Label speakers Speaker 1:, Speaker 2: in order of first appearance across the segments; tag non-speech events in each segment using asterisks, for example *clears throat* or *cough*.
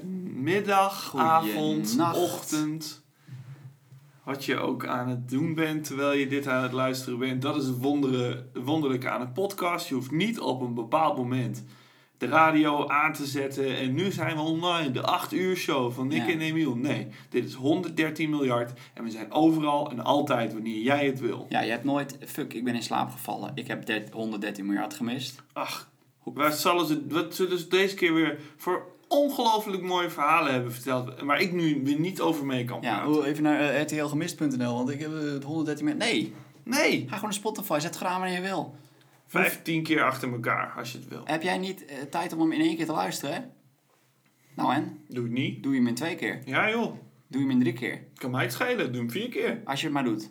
Speaker 1: Goedemiddag, avond,
Speaker 2: Goeienacht.
Speaker 1: ochtend. Wat je ook aan het doen bent terwijl je dit aan het luisteren bent. Dat is het wondere- wonderlijke aan een podcast. Je hoeft niet op een bepaald moment de radio aan te zetten. En nu zijn we online. De 8 uur show van Nick
Speaker 2: Ja.
Speaker 1: en Emiel. Nee, dit is 113 miljard. En we zijn overal en altijd wanneer jij het wil.
Speaker 2: Ja, je hebt nooit... Fuck, ik ben in slaap gevallen. Ik heb dert- 113 miljard gemist.
Speaker 1: Ach, wij zullen ze, wat zullen ze deze keer weer voor ongelooflijk mooie verhalen hebben verteld. Waar ik nu weer niet over mee kan
Speaker 2: Ja,
Speaker 1: praten.
Speaker 2: hoe- even naar eh, rtlgemist.nl, want ik heb eh, het 113 miljard... Nee,
Speaker 1: Nee,
Speaker 2: ga gewoon naar Spotify. Zet het gewoon aan wanneer je wil.
Speaker 1: 15 keer achter elkaar als je het wil.
Speaker 2: Heb jij niet eh, tijd om hem in één keer te luisteren, hè? Nou en?
Speaker 1: Doe het niet.
Speaker 2: Doe je hem in twee keer.
Speaker 1: Ja joh,
Speaker 2: Doe je hem in drie keer.
Speaker 1: kan mij het schelen. Doe hem vier keer.
Speaker 2: Als je het maar doet.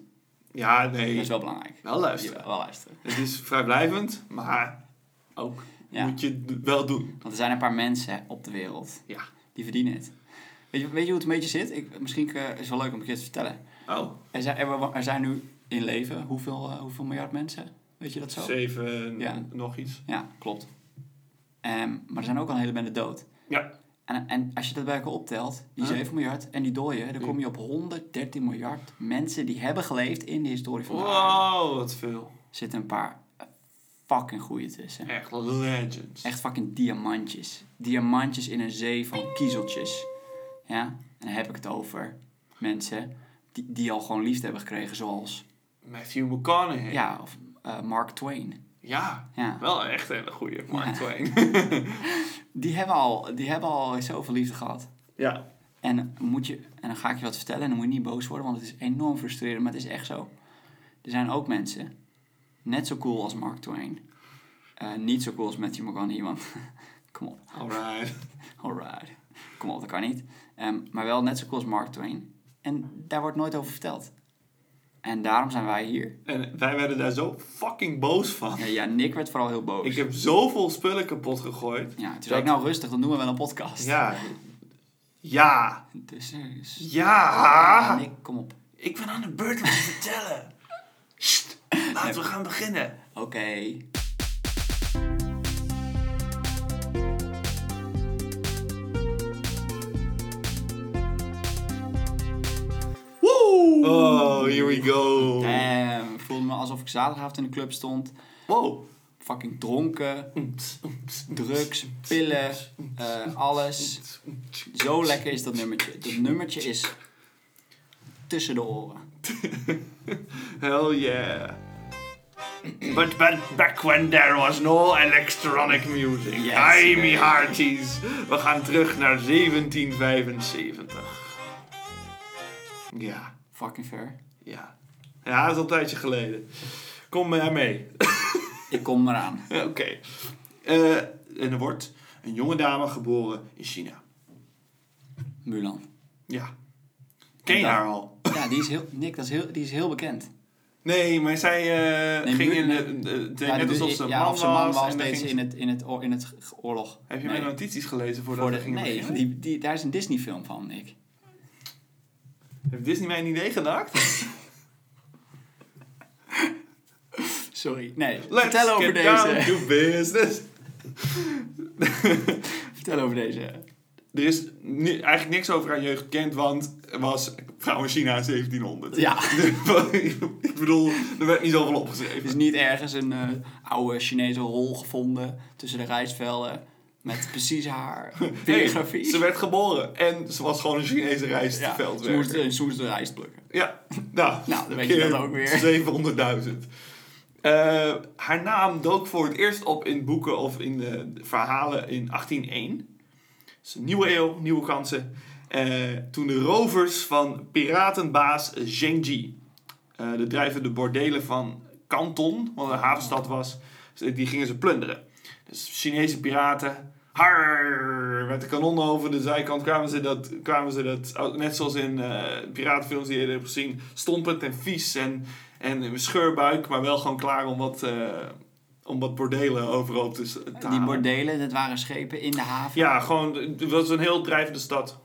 Speaker 1: Ja,
Speaker 2: Dat
Speaker 1: nee.
Speaker 2: is wel belangrijk.
Speaker 1: Wel luisteren.
Speaker 2: Ja, wel luisteren.
Speaker 1: Het is vrijblijvend, maar ook
Speaker 2: Ja.
Speaker 1: moet je het d- wel doen.
Speaker 2: Want er zijn een paar mensen op de wereld
Speaker 1: Ja.
Speaker 2: die verdienen het. Weet je, weet je hoe het een beetje zit? Ik, misschien eh, is het wel leuk om een keer te vertellen.
Speaker 1: Oh,
Speaker 2: Er zijn, er, wa- er zijn nu in leven hoeveel, eh, hoeveel miljard mensen? Weet je dat zo?
Speaker 1: zeven,
Speaker 2: Ja.
Speaker 1: n- nog iets.
Speaker 2: Ja, klopt. Ehm, maar er zijn ook al een hele bende dood.
Speaker 1: Ja.
Speaker 2: En, en als je dat bij elkaar optelt, die
Speaker 1: Huh?
Speaker 2: 7 miljard en die dooien, dan
Speaker 1: Ja.
Speaker 2: kom je op 113 miljard mensen die hebben geleefd in de historie van de aarde.
Speaker 1: Wow, wat veel.
Speaker 2: Er zitten een paar eh, fucking goeie tussen.
Speaker 1: Echt legends.
Speaker 2: Echt fucking diamantjes. Diamantjes in een zee van kiezeltjes. Ja, en dan heb ik het over mensen die, die al gewoon liefde hebben gekregen, zoals...
Speaker 1: Matthew McConaughey.
Speaker 2: Ja, of eh, Mark Twain.
Speaker 1: Ja,
Speaker 2: Ja,
Speaker 1: wel echt een hele goede Mark
Speaker 2: Ja.
Speaker 1: Twain.
Speaker 2: *laughs* die hebben al, die hebben al zoveel liefde gehad.
Speaker 1: ja.
Speaker 2: En, moet je, en dan ga ik je wat vertellen en dan moet je niet boos worden, want het is enorm frustrerend, maar het is echt zo. Er zijn ook mensen, net zo cool als Mark Twain, eh, niet zo cool als Matthew McConaughey, want *laughs* kom op,
Speaker 1: Alright.
Speaker 2: alright, kom op, dat kan niet. Ehm, maar wel net zo cool als Mark Twain. En daar wordt nooit over verteld. En daarom zijn wij hier.
Speaker 1: En wij werden daar zo fucking boos van.
Speaker 2: Ja, ja Nick werd vooral heel boos.
Speaker 1: Ik heb zoveel spullen kapot gegooid.
Speaker 2: Ja, toen zei ik, nou rustig, dan doen we wel een podcast.
Speaker 1: Ja. Ja.
Speaker 2: Dus, eh, s- Ja,
Speaker 1: Ja.
Speaker 2: Nick, kom op.
Speaker 1: Ik ben aan de beurt om te vertellen. Sst. Laten we gaan beginnen.
Speaker 2: Oké.
Speaker 1: Woe. Oh, here we go.
Speaker 2: Ehm, voelde me alsof ik zaterdagavond in de club stond.
Speaker 1: Wow.
Speaker 2: Fucking dronken,
Speaker 1: Oeps, oeps,
Speaker 2: drugs, pillen, eh, alles.
Speaker 1: oeps, oeps.
Speaker 2: Zo lekker is dat nummertje. Dat nummertje is tussen de oren.
Speaker 1: Hell yeah. But, but back when there was no electronic music.
Speaker 2: Yes,
Speaker 1: I'm
Speaker 2: baby.
Speaker 1: Harties. We gaan terug naar 1775. Ja,
Speaker 2: Fucking fair.
Speaker 1: ja. Ja, dat is al een tijdje geleden. Kom maar mee. *laughs*
Speaker 2: Ik kom eraan.
Speaker 1: Oké. Eh, en er wordt een jonge dame geboren in China.
Speaker 2: Mulan.
Speaker 1: Ja. Ken je
Speaker 2: Ja.
Speaker 1: haar al?
Speaker 2: Ja, die is heel, Nick, dat is heel, die is heel bekend.
Speaker 1: Nee, maar zij eh,
Speaker 2: Nee,
Speaker 1: ging
Speaker 2: nu-
Speaker 1: in
Speaker 2: nee.
Speaker 1: de... de- de-
Speaker 2: Ja,
Speaker 1: net
Speaker 2: die-
Speaker 1: alsof ze een
Speaker 2: ja,
Speaker 1: man,
Speaker 2: of ze man
Speaker 1: was. en dan
Speaker 2: deed ze
Speaker 1: ging
Speaker 2: in het, in het, oor- in het ge- oorlog.
Speaker 1: Heb je
Speaker 2: Nee.
Speaker 1: mijn notities gelezen voordat
Speaker 2: Voor
Speaker 1: we
Speaker 2: de,
Speaker 1: gingen
Speaker 2: nee, *laughs*
Speaker 1: beginnen?
Speaker 2: die, die, daar is een Disney film van, Nick.
Speaker 1: Heeft Disney mij een idee
Speaker 2: *laughs*
Speaker 1: genakt?
Speaker 2: Sorry. Nee,
Speaker 1: Let's
Speaker 2: vertel over
Speaker 1: get
Speaker 2: deze.
Speaker 1: down to business.
Speaker 2: Vertel over deze.
Speaker 1: Er is ni- eigenlijk niks over aan jeugd bekend, want er was vrouwen in China in 1700.
Speaker 2: Ja.
Speaker 1: *laughs* Ik bedoel, er werd niet zoveel opgeschreven.
Speaker 2: Er is niet ergens een eh, oude Chinese hol gevonden tussen de rijstvelden met precies haar biografie.
Speaker 1: *laughs* Nee, ze werd geboren en ze was gewoon een Chinese
Speaker 2: ja,
Speaker 1: rijstveldwerker.
Speaker 2: ze moest, eh, ze moest de rijst plukken.
Speaker 1: Ja, nou,
Speaker 2: Nou, dan weet je
Speaker 1: keer
Speaker 2: dat ook weer.
Speaker 1: 700.000. Eh, haar naam dook voor het eerst op in boeken of in eh, verhalen in 1801. Dus een nieuwe eeuw, nieuwe kansen. Eh, toen de rovers van piratenbaas Zheng Ji, eh, de drijvende bordelen van Canton, wat een havenstad was, die gingen ze plunderen. Dus Chinese piraten, har, met de kanonnen over de zijkant kwamen ze dat, kwamen ze dat oh, net zoals in eh, piratenfilms die je eerder hebt gezien, stompend en vies en, en een scheurbuik, maar wel gewoon klaar om wat, eh, om wat bordelen overhoop te, s- te
Speaker 2: Die
Speaker 1: halen.
Speaker 2: bordelen, dat waren schepen in de haven.
Speaker 1: Ja, gewoon, het was een heel drijvende stad.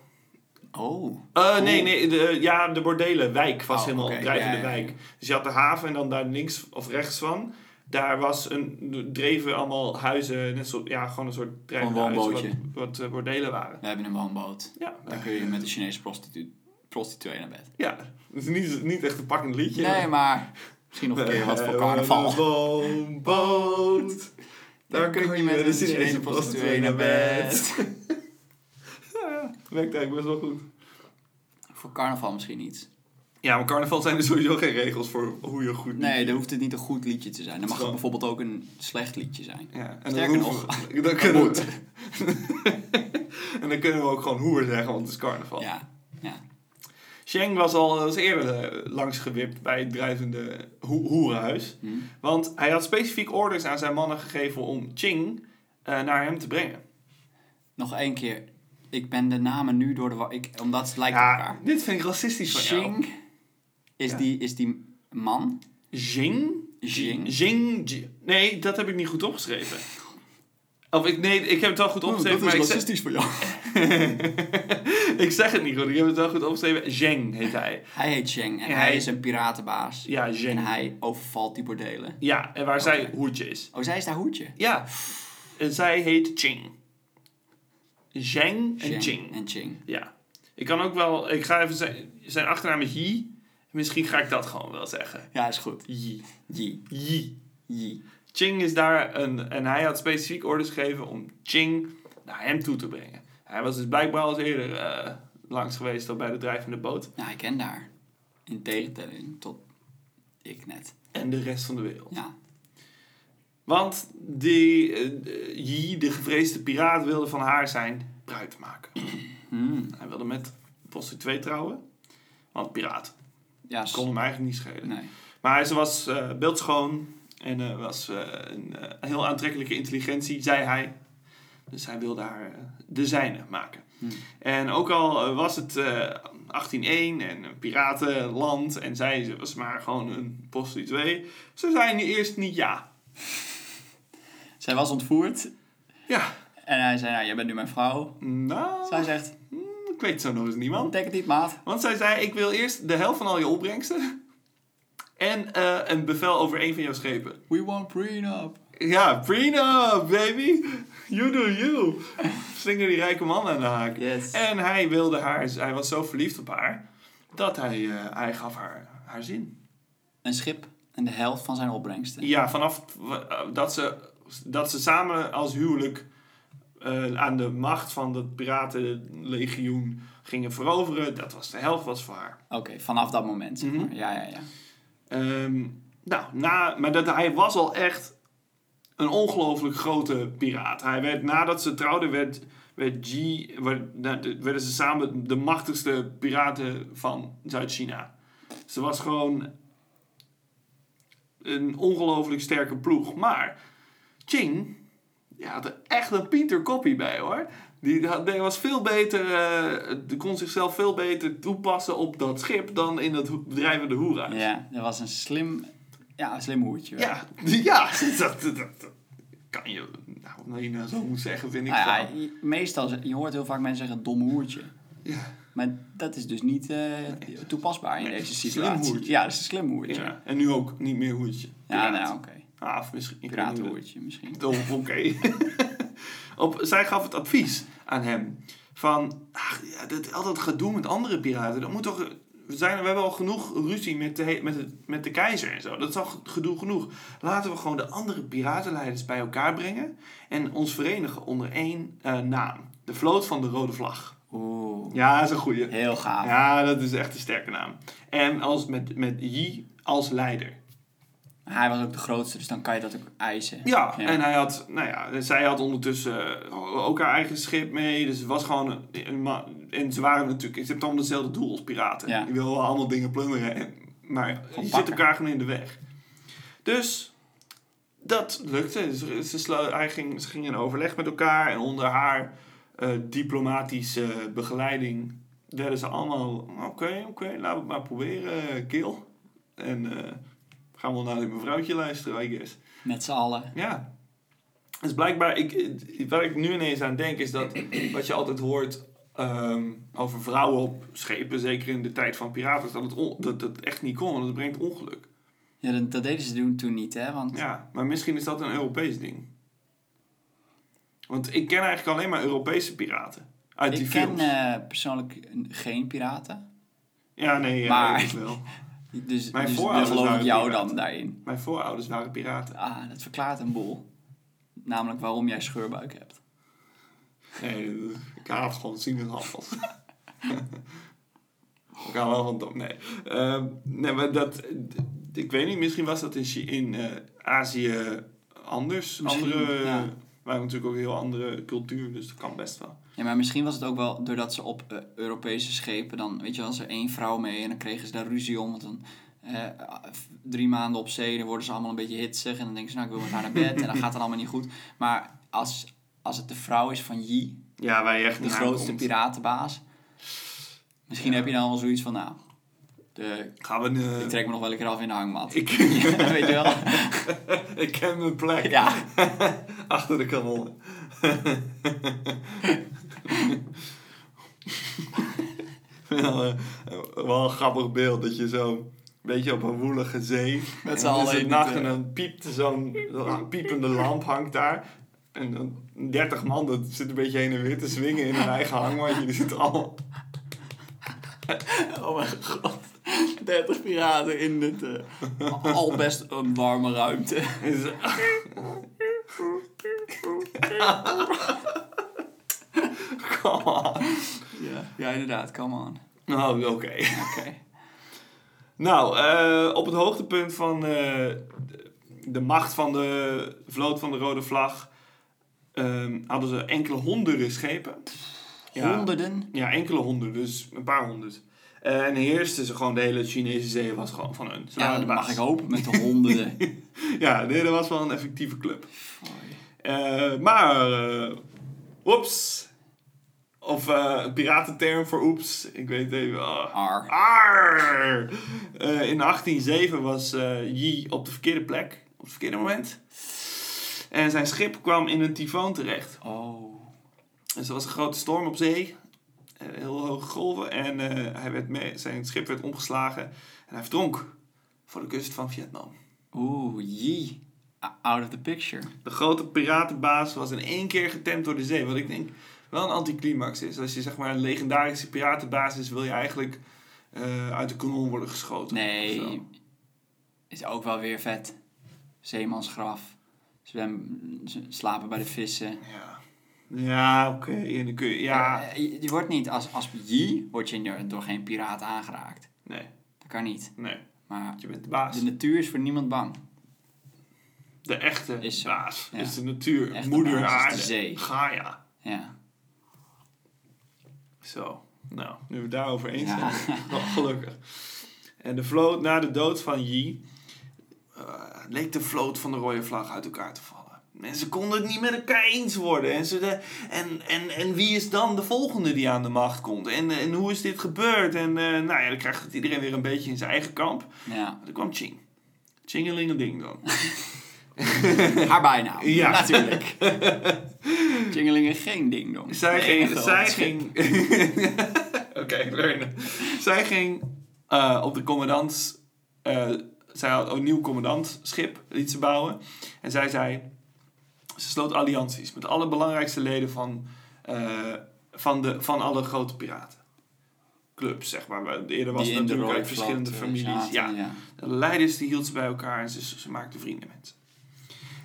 Speaker 2: Oh.
Speaker 1: Eh,
Speaker 2: Oh.
Speaker 1: Nee, nee, de, ja, de bordelenwijk was
Speaker 2: Oh,
Speaker 1: helemaal
Speaker 2: oké,
Speaker 1: een drijvende
Speaker 2: ja, ja, ja.
Speaker 1: wijk. Dus je had de haven en dan daar links of rechts van Daar was een, dreven allemaal huizen, net zo, ja, gewoon een soort drijvende
Speaker 2: Gewoon
Speaker 1: huizen, wat,
Speaker 2: woonbootje.
Speaker 1: wat eh, bordelen waren.
Speaker 2: We hebben een woonboot.
Speaker 1: Ja,
Speaker 2: Daar kun je met een Chinese prostitu prostituee naar bed.
Speaker 1: ja. Het is niet, niet echt een pakkend liedje. Eh,
Speaker 2: Nee, maar misschien nog een keer wat voor carnaval. *laughs*
Speaker 1: woonboot. Daar kun je met een Chinese prostituee naar bed. *laughs* Werkt eigenlijk best wel goed.
Speaker 2: voor carnaval misschien niet.
Speaker 1: Ja, maar carnaval zijn er sowieso geen regels voor hoe je goed
Speaker 2: Nee, dan hoeft het niet een goed liedje te zijn. Dan mag het
Speaker 1: Gewoon-
Speaker 2: bijvoorbeeld ook een slecht liedje zijn.
Speaker 1: Ja, en
Speaker 2: Sterker
Speaker 1: dan hoeven we- *laughs* dan kunnen we, en dan kunnen we ook gewoon hoer zeggen, want het is carnaval.
Speaker 2: Ja, ja.
Speaker 1: Sheng was al eens eerder eh, langsgewipt bij het drijvende ho- hoerenhuis.
Speaker 2: Hm.
Speaker 1: Want hij had specifiek orders aan zijn mannen gegeven om Ching eh, naar hem te brengen.
Speaker 2: Nog één keer. Ik ben de namen nu door de... wa- Ik, omdat het lijkt op elkaar.
Speaker 1: dit vind ik racistisch van jou.
Speaker 2: Xing is,
Speaker 1: Ja.
Speaker 2: die, is die man.
Speaker 1: Jing?
Speaker 2: Xing.
Speaker 1: Jing. Ji- Nee, dat heb ik niet goed opgeschreven. Of ik, nee, ik heb het wel goed
Speaker 2: Oh,
Speaker 1: opgeschreven, maar ik zeg,
Speaker 2: voor jou.
Speaker 1: ik zeg *laughs* het niet goed. Ik heb het wel goed opgeschreven. Zheng heet hij.
Speaker 2: *laughs* Hij heet Cheng en
Speaker 1: En
Speaker 2: hij,
Speaker 1: hij-
Speaker 2: is een piratenbaas.
Speaker 1: Ja, Zheng.
Speaker 2: En hij overvalt die bordelen.
Speaker 1: Ja, en waar zij
Speaker 2: Oké.
Speaker 1: hoedje is.
Speaker 2: Oh, zij is daar hoedje.
Speaker 1: Ja. En zij heet Ching. Zheng en Ching.
Speaker 2: En Ching.
Speaker 1: Ja. Ik kan ook wel... Ik ga even zijn, zijn achternaam is Yi. Misschien ga ik dat gewoon wel zeggen.
Speaker 2: Ja, is goed.
Speaker 1: Yi.
Speaker 2: Yi.
Speaker 1: Yi.
Speaker 2: Yi.
Speaker 1: Ching is daar een... En hij had specifiek orders gegeven om Ching naar hem toe te brengen. Hij was dus blijkbaar al eens eerder eh, langs geweest op bij de drijvende boot.
Speaker 2: Nou, ik ken daar. In tegenstelling tot ik net.
Speaker 1: En de rest van de wereld.
Speaker 2: Ja.
Speaker 1: Want die, eh, Yi, de gevreesde piraat, wilde van haar zijn bruid maken.
Speaker 2: *clears throat* Hmm.
Speaker 1: Hij wilde met prostituee trouwen. Want piraat.
Speaker 2: Ja, s-
Speaker 1: Kon hem eigenlijk niet schelen.
Speaker 2: nee.
Speaker 1: Maar ze was eh, beeldschoon. En eh, was eh, een eh, heel aantrekkelijke intelligentie, zei hij. Dus hij wilde haar eh, de zijne maken.
Speaker 2: Hmm.
Speaker 1: En ook al eh, was het eh, 1801 en een piratenland. En zij ze was maar gewoon een prostituee. Ze zei nu eerst niet ja.
Speaker 2: Zij was ontvoerd.
Speaker 1: Ja,
Speaker 2: En hij zei, nou, jij bent nu mijn vrouw.
Speaker 1: nou,
Speaker 2: Zij zegt,
Speaker 1: ik weet zo nog eens niemand.
Speaker 2: ontdek het niet, maat.
Speaker 1: Want zij zei, ik wil eerst de helft van al je opbrengsten. En eh, een bevel over één van jouw schepen.
Speaker 2: We want prenup.
Speaker 1: Ja, prenup, baby. You do you. Slinger die rijke man aan de haak.
Speaker 2: Yes.
Speaker 1: En hij wilde haar, hij was zo verliefd op haar, dat hij, eh, hij gaf haar haar zin.
Speaker 2: Een schip en de helft van zijn opbrengsten.
Speaker 1: Ja, vanaf eh, dat ze, dat ze samen als huwelijk eh, aan de macht van dat piratenlegioen gingen veroveren, dat was de helft was voor haar.
Speaker 2: Oké, vanaf dat moment, zeg maar.
Speaker 1: Mhm.
Speaker 2: Ja, ja, ja.
Speaker 1: Ehm, nou, na, maar dat, hij was al echt een ongelooflijk grote piraat. Hij werd, nadat ze trouwden, werd, werd G, werd- nou, de- werden ze samen de machtigste piraten van Zuid-China. Ze was gewoon een ongelooflijk sterke ploeg. Maar Ching ja, had er echt een Pieter Koppie bij hoor. Die, had, die was veel beter, eh, die kon zichzelf veel beter toepassen op dat schip dan in dat ho- drijvende hoera.
Speaker 2: Ja, dat was een slim, ja, een slim hoertje. wel.
Speaker 1: Ja, *laughs* ja dat, dat, dat kan je. Nou, nou, je nou zo moet zeggen, vind ik.
Speaker 2: Nou ja,
Speaker 1: wel.
Speaker 2: je- meestal, ze- je hoort heel vaak mensen zeggen dom hoertje.
Speaker 1: Ja.
Speaker 2: Maar dat is dus niet eh, toepasbaar in
Speaker 1: Nee,
Speaker 2: deze
Speaker 1: slim
Speaker 2: situatie.
Speaker 1: hoertje.
Speaker 2: Ja, dat is een slim hoertje. Ja,
Speaker 1: Ja, En nu ook niet meer hoedje.
Speaker 2: nou oké.
Speaker 1: Ah, of misschien. ik weet niet hoe
Speaker 2: Piratenhoertje misschien.
Speaker 1: dat- Oh, Oké. *laughs* Op Zij gaf het advies aan hem. Van, ach, ja, dat, al dat gedoe met andere piraten. Dat moet toch, we, zijn, we hebben al genoeg ruzie met de, he- met, het, met de keizer en zo. Dat is al gedoe genoeg. Laten we gewoon de andere piratenleiders bij elkaar brengen. En ons verenigen onder één eh, naam. De vloot van de rode vlag.
Speaker 2: Oeh,
Speaker 1: Ja, dat is een goeie.
Speaker 2: heel gaaf.
Speaker 1: Ja, dat is echt een sterke naam. En als met, met Yi als leider.
Speaker 2: Hij was ook de grootste, dus dan kan je dat ook eisen.
Speaker 1: Ja,
Speaker 2: Ja.
Speaker 1: en hij had, nou ja, zij had ondertussen eh, ook haar eigen schip mee. Dus het was gewoon een, een ma- En ze waren natuurlijk, ze hebben allemaal hetzelfde doel als piraten.
Speaker 2: Ja.
Speaker 1: Je wil wel allemaal dingen plunderen, en- maar je zit
Speaker 2: pakken.
Speaker 1: elkaar gewoon in de weg. Dus dat lukte. Ze, ze, slu- hij ging, ze gingen in overleg met elkaar en onder haar eh, diplomatische begeleiding werden ze allemaal, oké, oké, laten we het maar proberen, eh, Kil. En eh, gaan we wel naar dit mevrouwtje luisteren, I guess.
Speaker 2: Met z'n allen.
Speaker 1: Ja. Dus blijkbaar, ik, waar ik nu ineens aan denk, is dat wat je altijd hoort ehm, over vrouwen op schepen, zeker in de tijd van piraten, is dat het, on- dat het echt niet kon, want het brengt ongeluk.
Speaker 2: Ja, dat, dat deden ze toen, toen niet, hè? Want
Speaker 1: Ja, maar misschien is dat een Europees ding. Want ik ken eigenlijk alleen maar Europese piraten. Uit die
Speaker 2: ik ken
Speaker 1: films.
Speaker 2: eh, persoonlijk geen piraten.
Speaker 1: ja, nee, ja,
Speaker 2: maar-
Speaker 1: ik wel.
Speaker 2: Dus,
Speaker 1: Mijn
Speaker 2: dus dan
Speaker 1: voorouders
Speaker 2: geloof ik
Speaker 1: waren
Speaker 2: jou
Speaker 1: piraten.
Speaker 2: dan daarin.
Speaker 1: Mijn voorouders waren piraten.
Speaker 2: Ah, dat verklaart een boel. Namelijk waarom jij scheurbuik hebt.
Speaker 1: Nee, ik haat gewoon *laughs* sinaasappels. ik hou wel van dom, nee. Ehm, nee, maar dat... d- Ik weet niet, misschien was dat in, Chi- in eh, Azië anders.
Speaker 2: Misschien,
Speaker 1: andere,
Speaker 2: ja.
Speaker 1: Waren natuurlijk ook een heel andere cultuur, dus dat kan best wel.
Speaker 2: Ja, maar misschien was het ook wel doordat ze op eh, Europese schepen dan, weet je, wel, was er één vrouw mee en dan kregen ze daar ruzie om. Want dan eh, f- drie maanden op zee, dan worden ze allemaal een beetje hitsig en dan denken ze, nou, ik wil met haar naar bed en dan gaat het allemaal niet goed. Maar als, als het de vrouw is van Yi,
Speaker 1: Ja, wij echt
Speaker 2: de grootste piratenbaas, misschien
Speaker 1: Ja.
Speaker 2: heb je dan wel zoiets van, nou, de,
Speaker 1: Gaan we... eh,
Speaker 2: ik trek me nog wel een keer af in de hangmat.
Speaker 1: ik,
Speaker 2: *laughs* Ja, weet je wel?
Speaker 1: ik ken mijn plek.
Speaker 2: Ja.
Speaker 1: Achter de kanonnen. wel, eh, wel een grappig beeld dat je zo een beetje op een woelige zee.
Speaker 2: Met z'n
Speaker 1: en dan is
Speaker 2: allen
Speaker 1: het
Speaker 2: in
Speaker 1: nacht
Speaker 2: het,
Speaker 1: en
Speaker 2: eh,
Speaker 1: dan piept zo'n la- piepende lamp hangt daar. En dan 30 man, dat zit een beetje heen en weer te swingen in hun eigen hangmatje. Die zitten allemaal.
Speaker 2: Oh mijn god. 30 piraten in dit al best een warme ruimte.
Speaker 1: en ze- Come on.
Speaker 2: Ja, ja inderdaad, come on.
Speaker 1: Nou, oké.
Speaker 2: Oké.
Speaker 1: Nou, eh, op het hoogtepunt van eh, de macht van de vloot van de Rode Vlag ehm, hadden ze enkele honderden schepen. Ja,
Speaker 2: Honderden.
Speaker 1: ja, enkele honderden, dus een paar honderd. Eh, en heersten ze gewoon de hele Chinese zee, was gewoon van hun. Ze
Speaker 2: Ja,
Speaker 1: waren
Speaker 2: dat
Speaker 1: de baas.
Speaker 2: mag ik hopen met de honderden.
Speaker 1: *laughs* Ja, nee, dat was wel een effectieve club.
Speaker 2: Foei.
Speaker 1: Eh, maar, eh oeps. Of eh, een piratenterm voor oeps. Ik weet het even. ah.
Speaker 2: Ar.
Speaker 1: Arr! Eh, in 1807 was eh Yi op de verkeerde plek, op het verkeerde moment. En zijn schip kwam in een tyfoon terecht.
Speaker 2: Oh.
Speaker 1: Dus er was een grote storm op zee, eh, heel hoge golven. En eh, hij werd mee, zijn schip werd omgeslagen en hij verdronk voor de kust van Vietnam.
Speaker 2: Oeh, jee. O- Out of the picture.
Speaker 1: De grote piratenbaas was in één keer getemd door de zee. Wat ik denk wel een anticlimax is. Als je zeg maar een legendarische piratenbaas is, wil je eigenlijk eh, uit de kanon worden geschoten. of zo.
Speaker 2: Nee. Is ook wel weer vet. Zeemansgraf. Zwem, z- slapen bij de vissen.
Speaker 1: Ja, ja oké. En dan kun je- Ja,
Speaker 2: Eh, eh, Je wordt niet als, als Yi, word je door- door geen piraat aangeraakt.
Speaker 1: nee,
Speaker 2: Dat kan niet.
Speaker 1: nee.
Speaker 2: Maar
Speaker 1: Je bent de baas.
Speaker 2: de natuur is voor niemand bang.
Speaker 1: De echte
Speaker 2: Is zo.
Speaker 1: baas.
Speaker 2: Ja.
Speaker 1: Is de natuur.
Speaker 2: Echte
Speaker 1: Moeder
Speaker 2: baas is de
Speaker 1: aarde.
Speaker 2: zee.
Speaker 1: Gaia.
Speaker 2: Ja.
Speaker 1: Zo. Nou, nu we het daarover eens
Speaker 2: Ja.
Speaker 1: zijn. Wel gelukkig. En de vloot na de dood van Yi... eh, leek de vloot van de rode vlag uit elkaar te vallen. En ze konden het niet met elkaar eens worden. En, ze de, en, en, en wie is dan de volgende die aan de macht komt? En, en hoe is dit gebeurd? En eh, nou ja, dan krijgt het iedereen weer een beetje in zijn eigen kamp.
Speaker 2: ja.
Speaker 1: Maar toen Nou, kwam Ching. Chingelingeling dan.
Speaker 2: *laughs* Haar bijnaam.
Speaker 1: Ja.
Speaker 2: Ja. Natuurlijk. Jingelingen geen ding dong.
Speaker 1: Zij
Speaker 2: Nee,
Speaker 1: ging...
Speaker 2: dat
Speaker 1: zij
Speaker 2: is geen-
Speaker 1: ging...
Speaker 2: *laughs*
Speaker 1: Oké, fair enough. Zij ging eh, op de commandant... eh, zij had een nieuw commandantschip, liet ze bouwen. En zij zei... Ze sloot allianties met alle belangrijkste leden van, eh, van, de, van alle grote piraten. Clubs, zeg maar. Eerder was
Speaker 2: Die
Speaker 1: het
Speaker 2: in de
Speaker 1: natuurlijk
Speaker 2: rode
Speaker 1: uit verschillende
Speaker 2: vlag, eh,
Speaker 1: families.
Speaker 2: zaten,
Speaker 1: ja. De leiders die hield ze bij elkaar en ze, ze maakte vrienden met ze.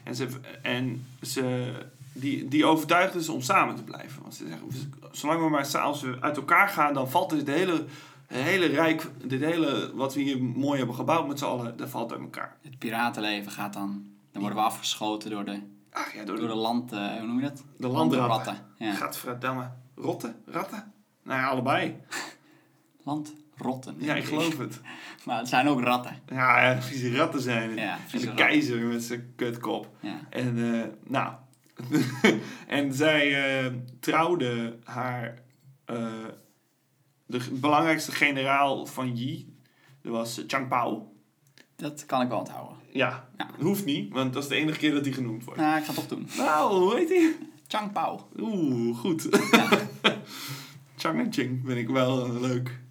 Speaker 1: En, ze, en ze, die, die overtuigde ze om samen te blijven. Want ze zeggen, "We- zolang we maar sa- als we uit elkaar gaan, dan valt dit hele, hele rijk, dit hele wat we hier mooi hebben gebouwd met z'n allen, dat valt uit elkaar.
Speaker 2: Het piratenleven gaat dan... Dan worden we afgeschoten door de,
Speaker 1: Ach ja, door
Speaker 2: door de
Speaker 1: de,
Speaker 2: land... eh, hoe noem je dat?
Speaker 1: de landratten.
Speaker 2: Landratten, Ja.
Speaker 1: Gadverdamme. Rotten? Ratten? Nou ja, allebei.
Speaker 2: Landrotten.
Speaker 1: Ja, ik geloof het.
Speaker 2: Maar het zijn ook ratten.
Speaker 1: Ja, ja, vieze ratten zijn het.
Speaker 2: Ja,
Speaker 1: en
Speaker 2: vieze
Speaker 1: de
Speaker 2: ratten.
Speaker 1: keizer met zijn kutkop.
Speaker 2: Ja.
Speaker 1: En eh, nou, *laughs* en zij eh, trouwde haar, eh, de g- belangrijkste generaal van Yi, dat was eh, Chang Pao.
Speaker 2: Dat kan ik wel onthouden.
Speaker 1: Ja,
Speaker 2: Ja.
Speaker 1: hoeft niet, want dat is de enige keer dat hij genoemd wordt.
Speaker 2: Nou, ik ga het toch doen.
Speaker 1: Nou, hoe heet hij?
Speaker 2: Chang Pao.
Speaker 1: *laughs* Oeh, goed. Chang en Ching vind ik wel eh, leuk.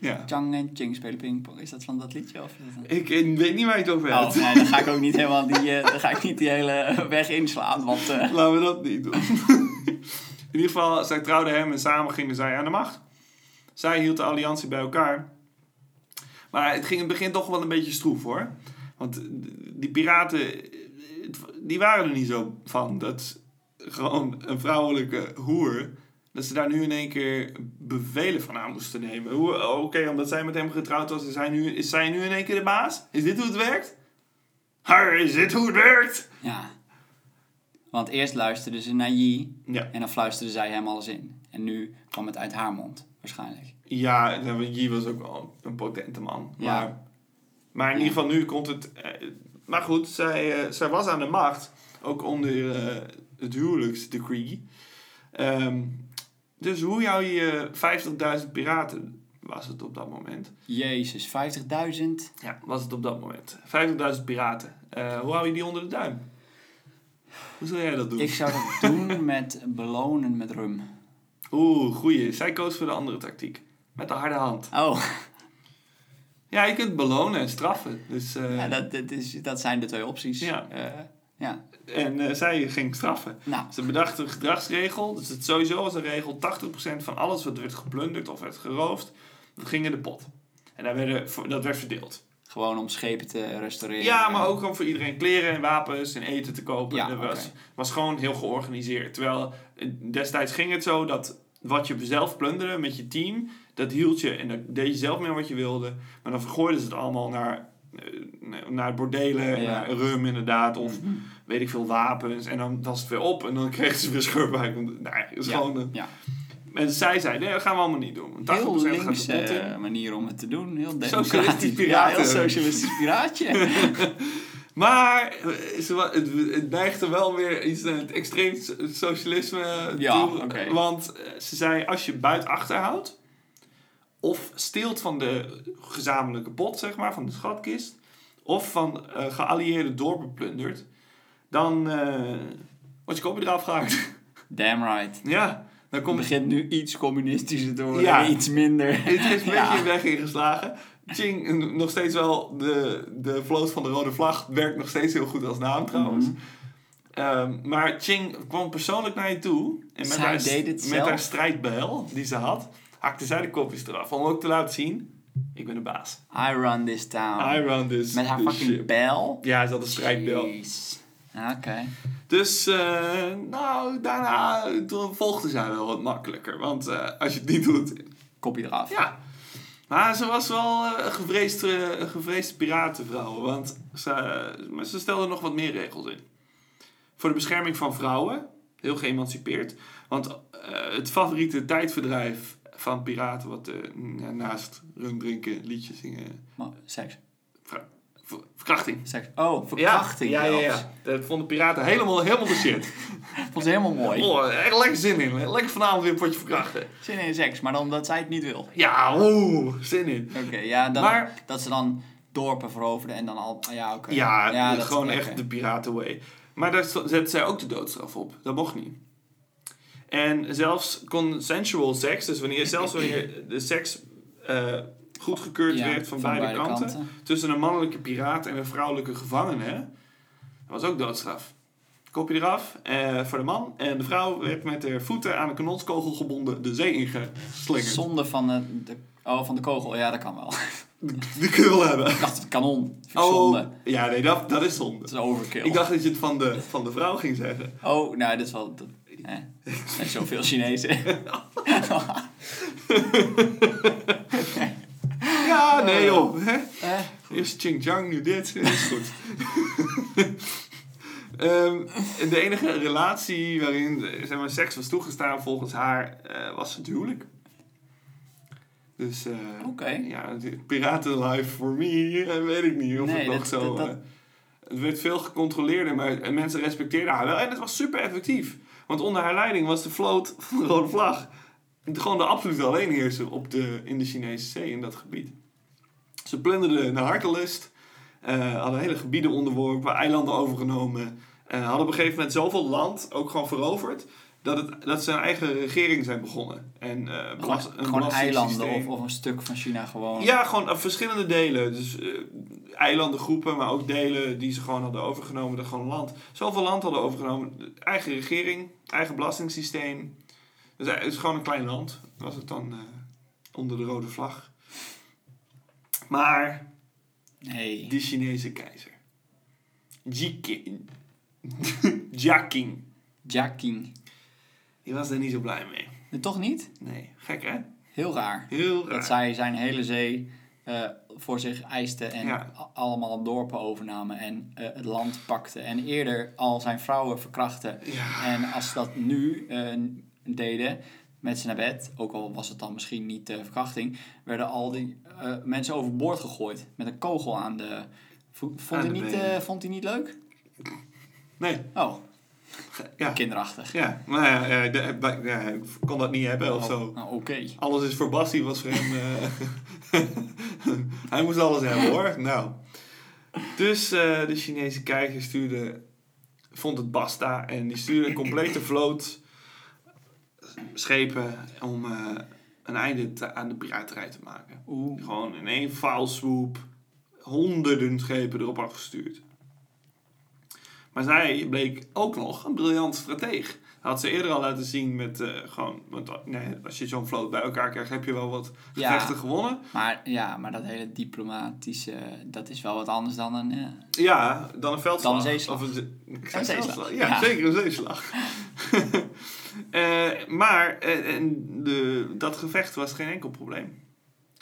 Speaker 1: Ja.
Speaker 2: Chang en Ching spelen pingpong. Is dat van dat liedje? Of is dat
Speaker 1: Ik, eh, weet niet waar je het over
Speaker 2: een... Oh,
Speaker 1: hebt.
Speaker 2: nee, dan ga ik ook niet helemaal die, eh, dan ga ik niet die hele weg inslaan. Want
Speaker 1: *laughs*
Speaker 2: eh,
Speaker 1: Laten we dat niet doen. In ieder geval, zij trouwden hem en samen gingen zij aan de macht. Zij hield de alliantie bij elkaar. Maar het ging in het begin toch wel een beetje stroef hoor. Want eh, die piraten, eh, het- die waren er niet zo van dat gewoon een vrouwelijke hoer, dat ze daar nu in één keer bevelen van aan moesten nemen. Hoe- oh, Oké, omdat zij met hem getrouwd was, is, hij nu, is zij nu in één keer de baas? Is dit hoe het werkt? Har, is dit hoe het werkt?
Speaker 2: ja. Want eerst luisterden ze naar Yi
Speaker 1: Ja.
Speaker 2: en dan fluisterde zij hem alles in. En nu kwam het uit haar mond, waarschijnlijk.
Speaker 1: Ja, nou, want Yi was ook wel een potente man.
Speaker 2: Ja.
Speaker 1: Maar, maar in ieder geval nu komt het... eh, maar goed, zij, eh, zij was aan de macht. Ook onder eh, het huwelijksdecree. Ehm, dus hoe jou je 50.000 piraten was het op dat moment.
Speaker 2: Jezus, 50.000.
Speaker 1: Ja, was het op dat moment. 50.000 piraten. Eh, hoe hou je die onder de duim? Hoe zou jij dat doen?
Speaker 2: Ik
Speaker 1: *laughs*
Speaker 2: zou dat doen met belonen met rum.
Speaker 1: Oeh, goeie. Zij koos voor de andere tactiek. Met de harde hand.
Speaker 2: Oh,
Speaker 1: Ja, je kunt belonen en straffen. Dus, eh,
Speaker 2: ja, dat, dat, is, dat zijn de twee opties.
Speaker 1: Ja.
Speaker 2: Eh, ja.
Speaker 1: En eh, zij ging straffen.
Speaker 2: Nou,
Speaker 1: Ze bedacht een gedragsregel. Dus het sowieso was een regel: 80% van alles wat werd geplunderd of werd geroofd, dat ging in de pot. En daar werden, dat werd verdeeld.
Speaker 2: gewoon om schepen te restaureren.
Speaker 1: Ja, maar ook om voor iedereen kleren en wapens en eten te kopen.
Speaker 2: Ja,
Speaker 1: dat was,
Speaker 2: oké.
Speaker 1: was gewoon heel georganiseerd. Terwijl eh, destijds ging het zo dat wat je zelf plunderde met je team, dat hield je en daar deed je zelf mee wat je wilde. Maar dan vergooiden ze het allemaal naar, eh, naar bordelen,
Speaker 2: Ja.
Speaker 1: naar rum inderdaad, of
Speaker 2: Mhm.
Speaker 1: weet ik veel, wapens. En dan was het weer op en dan *laughs* kregen ze weer schurpbuik. Want, Nee, het is
Speaker 2: Ja,
Speaker 1: gewoon... een-
Speaker 2: ja.
Speaker 1: En zij zei, nee, dat gaan we allemaal niet doen. 80%
Speaker 2: Heel
Speaker 1: gaat
Speaker 2: linkse
Speaker 1: de pot in.
Speaker 2: eh, manier om het te doen. Heel
Speaker 1: Socialistisch
Speaker 2: democratisch. Ja,
Speaker 1: piraten.
Speaker 2: heel socialistisch
Speaker 1: *laughs*
Speaker 2: piraatje.
Speaker 1: Maar eh, ze wa- het, het neigde wel weer iets naar het extreem so- socialisme
Speaker 2: Ja,
Speaker 1: toe.
Speaker 2: oké.
Speaker 1: Want eh, ze zei, als je buit achterhoudt... of steelt van de gezamenlijke pot, zeg maar, van de schatkist... of van eh geallieerde dorpen plundert... dan eh wordt je kopje eraf gehaakt.
Speaker 2: Damn right.
Speaker 1: *laughs* ja, dan
Speaker 2: Het
Speaker 1: kom je...
Speaker 2: begint nu iets communistischer te worden.
Speaker 1: Ja.
Speaker 2: Iets minder.
Speaker 1: Het is een
Speaker 2: Ja.
Speaker 1: beetje weg ingeslagen. Ching, eh, nog steeds wel de, de vloot van de rode vlag, werkt nog steeds heel goed als naam trouwens.
Speaker 2: Mhm.
Speaker 1: Ehm, maar Ching kwam persoonlijk naar je toe. En met,
Speaker 2: Zij
Speaker 1: haar,
Speaker 2: deed het
Speaker 1: met
Speaker 2: zelf.
Speaker 1: haar strijdbijl die ze had, hakte zij de kopjes eraf. Om ook te laten zien, ik ben de baas.
Speaker 2: I run this town.
Speaker 1: I run this,
Speaker 2: Ah. Met haar
Speaker 1: this
Speaker 2: fucking
Speaker 1: ship.
Speaker 2: bel.
Speaker 1: Ja, ze had een strijdbijl.
Speaker 2: Jeez. Ah, Oké.
Speaker 1: Dus, eh, nou, daarna toen volgde zij wel wat makkelijker. Want eh, als je het niet doet,
Speaker 2: Kopie eraf.
Speaker 1: Ja. Maar ze was wel eh, een gevreesde, een gevreesde piratenvrouw. Want ze, maar ze stelde nog wat meer regels in. Voor de bescherming van vrouwen. Heel geëmancipeerd. Want eh, het favoriete tijdverdrijf van piraten... wat eh, ja, naast rum drinken, liedjes zingen...
Speaker 2: Maar, seks.
Speaker 1: ver- ver- verkrachting.
Speaker 2: Seks. Oh, verkrachting.
Speaker 1: Ja, ja, ja,
Speaker 2: zelfs.
Speaker 1: ja. Dat vonden piraten helemaal, helemaal de shit.
Speaker 2: *laughs* Vond ze helemaal mooi.
Speaker 1: Oh, echt lekker zin in. Lekker vanavond weer een potje verkrachten.
Speaker 2: Zin in seks, maar dan omdat zij het niet wil.
Speaker 1: Ja, oeh, zin in.
Speaker 2: Oké, ja, dan,
Speaker 1: Maar-
Speaker 2: dat ze dan dorpen veroverden en dan al... ah, Ja, oké.
Speaker 1: Ja,
Speaker 2: Ja, dat-
Speaker 1: gewoon
Speaker 2: oké.
Speaker 1: echt de piratenway. Maar daar sto- zette zij ook de doodstraf op. Dat mocht niet. En zelfs consensual seks, dus wanneer, zelfs wanneer de seks eh, goedgekeurd
Speaker 2: Ja,
Speaker 1: werd van, beide, kanten, tussen een mannelijke piraat en een vrouwelijke gevangene, dat was ook doodstraf. Kopje eraf eh, voor de man. En de vrouw werd met haar voeten aan een kanonskogel gebonden de zee ingeslingerd.
Speaker 2: Zonde van de, de, oh, van de kogel. Ja, dat kan wel. *laughs*
Speaker 1: Die kunnen we wel hebben.
Speaker 2: Ik dacht, het kanon. Zonde.
Speaker 1: Oh, ja, nee, dat, dat is zonde.
Speaker 2: Dat is overkill.
Speaker 1: Ik dacht dat je het van de, van de vrouw ging zeggen.
Speaker 2: Oh, nou, dat is wel... Dat, eh, er zijn zoveel
Speaker 1: *laughs*
Speaker 2: Chinezen. *laughs*
Speaker 1: Ja, nee joh. hè?
Speaker 2: Eh,
Speaker 1: Eerst Xinjiang, nu dit. Is goed. *laughs* Ehm, de enige relatie waarin eh, zeg maar, seks was toegestaan volgens haar eh, was het huwelijk. Dus eh,
Speaker 2: Oké.
Speaker 1: ja, het- piraten life for me, eh, weet ik niet of
Speaker 2: Nee,
Speaker 1: het nog
Speaker 2: dat-
Speaker 1: zo...
Speaker 2: dat- dat-
Speaker 1: eh, het werd veel gecontroleerder, maar eh, mensen respecteerden haar wel. En het was super effectief. Want onder haar leiding was de vloot *laughs* van de Rode Vlag gewoon de absolute alleenheerser op de, in de Chinese zee in dat gebied. Ze plunderden naar hartelust, eh, hadden hele gebieden onderworpen, eilanden overgenomen. eh, hadden op een gegeven moment zoveel land ook gewoon veroverd. dat, het, dat ze een eigen regering zijn begonnen. En, eh,
Speaker 2: Gewoon,
Speaker 1: belast- een
Speaker 2: gewoon eilanden
Speaker 1: belastingssysteem.
Speaker 2: of, of een stuk van China gewoon.
Speaker 1: Ja, gewoon eh, verschillende delen. Dus eh, eilandengroepen, maar ook delen die ze gewoon hadden overgenomen. Dat gewoon land. Zoveel land hadden overgenomen. Eigen regering, eigen belastingssysteem. Dus eh, het is gewoon een klein land. Was het dan eh, onder de rode vlag. Maar
Speaker 2: Nee.
Speaker 1: de Chinese keizer. *laughs* Jiqing. Jiaqing.
Speaker 2: Jiaqing.
Speaker 1: Die was daar niet zo blij mee.
Speaker 2: Nee, Toch niet?
Speaker 1: Nee, gek hè?
Speaker 2: Heel raar.
Speaker 1: Heel
Speaker 2: Dat
Speaker 1: raar.
Speaker 2: zij zijn hele zee eh, voor zich eiste en
Speaker 1: Ja.
Speaker 2: a- allemaal dorpen overnamen en eh, het land pakte. En eerder al zijn vrouwen verkrachten.
Speaker 1: Ja.
Speaker 2: En als ze dat nu eh, deden met ze naar bed, ook al was het dan misschien niet eh, verkrachting, werden al die eh, mensen overboord gegooid met een kogel aan de. vo- Vond,
Speaker 1: Aan
Speaker 2: hij,
Speaker 1: de
Speaker 2: niet,
Speaker 1: benen.
Speaker 2: eh, vond hij niet leuk?
Speaker 1: Nee,
Speaker 2: Oh,
Speaker 1: ja.
Speaker 2: kinderachtig.
Speaker 1: Ja, maar ja, ja, de- eh, bij- ja, ik kon dat niet hebben of
Speaker 2: Oh,
Speaker 1: zo.
Speaker 2: nou, Oké.
Speaker 1: Alles is voor Basti, was voor hem. eh, *laughs* hij moest alles hebben hoor. Nou. Dus eh, de Chinese keizer stuurde. vond het basta en die stuurde een complete vloot. schepen om eh, een einde te- aan de piraterij te maken.
Speaker 2: Oeh.
Speaker 1: Gewoon in één foul swoop honderden schepen erop afgestuurd. Maar zij bleek ook nog een briljant strateeg. Dat had ze eerder al laten zien met eh, gewoon... Want eh, nee, als je zo'n vloot bij elkaar krijgt, heb je wel wat
Speaker 2: Ja.
Speaker 1: gevechten gewonnen.
Speaker 2: Maar ja, maar dat hele diplomatische, dat is wel wat anders dan een... eh,
Speaker 1: Ja, dan een veldslag.
Speaker 2: Dan een zeeslag.
Speaker 1: Of *laughs* een, ze- ik zei
Speaker 2: Een zeeslag,
Speaker 1: veldslag. Ja,
Speaker 2: ja.
Speaker 1: zeker een zeeslag. *laughs* Eh, maar eh, en de, dat gevecht was geen enkel probleem.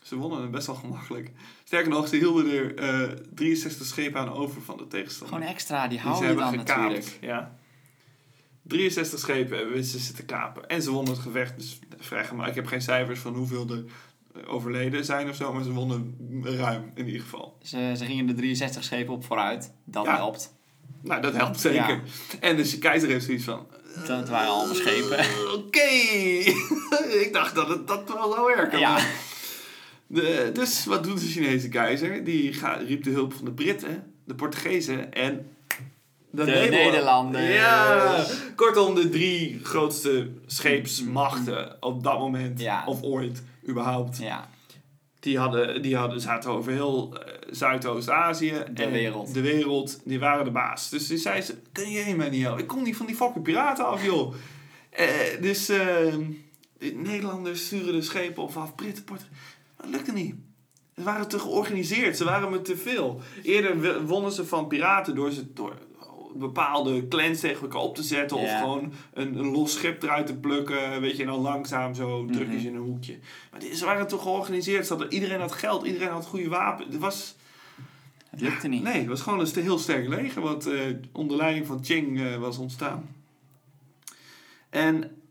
Speaker 1: Ze wonnen het best wel gemakkelijk. Sterker nog, ze hielden er eh, 63 schepen aan over van de tegenstander.
Speaker 2: Gewoon extra, die
Speaker 1: Die ze
Speaker 2: hou je
Speaker 1: hebben
Speaker 2: dan
Speaker 1: gekaapt.
Speaker 2: natuurlijk.
Speaker 1: Ja. 63 schepen hebben wisten ze te kapen. En ze wonnen het gevecht. Dus vragen maar. Ik heb geen cijfers van hoeveel er eh, overleden zijn of zo. Maar ze wonnen ruim in ieder geval.
Speaker 2: Ze, ze gingen de 63 schepen op vooruit. Dat
Speaker 1: Ja.
Speaker 2: helpt.
Speaker 1: Nou, dat helpt zeker.
Speaker 2: Ja.
Speaker 1: En dus de keizer heeft zoiets
Speaker 2: *laughs*
Speaker 1: van...
Speaker 2: Dat waren allemaal schepen.
Speaker 1: Oké, *laughs* ik dacht dat het dat wel zou werken.
Speaker 2: Ja.
Speaker 1: De- dus wat doet de Chinese keizer? Die ga- riep de hulp van de Britten, de Portugezen en...
Speaker 2: De Nederlanders.
Speaker 1: Ja, kortom de drie grootste scheepsmachten op dat moment,
Speaker 2: Mm. Ja.
Speaker 1: of ooit überhaupt.
Speaker 2: ja.
Speaker 1: Die, hadden, die hadden, zaten over heel eh, Zuidoost-Azië.
Speaker 2: De
Speaker 1: en
Speaker 2: wereld.
Speaker 1: De wereld. Die waren de baas. Dus die zei ze, kun jij mij niet helpen? Ik kom niet van die fucking piraten af, joh. Eh, dus eh, de Nederlanders sturen de schepen op af. Britten, Port. Maar dat lukte niet. Ze waren te georganiseerd. Ze waren me te veel. Eerder w- wonnen ze van piraten door ze door bepaalde clans tegen elkaar op te zetten. Of
Speaker 2: Ja.
Speaker 1: gewoon een, een los schip eruit te plukken. Weet je, en dan langzaam zo drukjes
Speaker 2: Mhm.
Speaker 1: in een hoekje. Maar die- ze waren toch georganiseerd. Ze hadden, iedereen had geld, iedereen had goede wapen. Het was,
Speaker 2: Het lukte niet.
Speaker 1: nee, het was gewoon een st- heel sterk leger wat eh, onder leiding van Qing eh, was ontstaan. En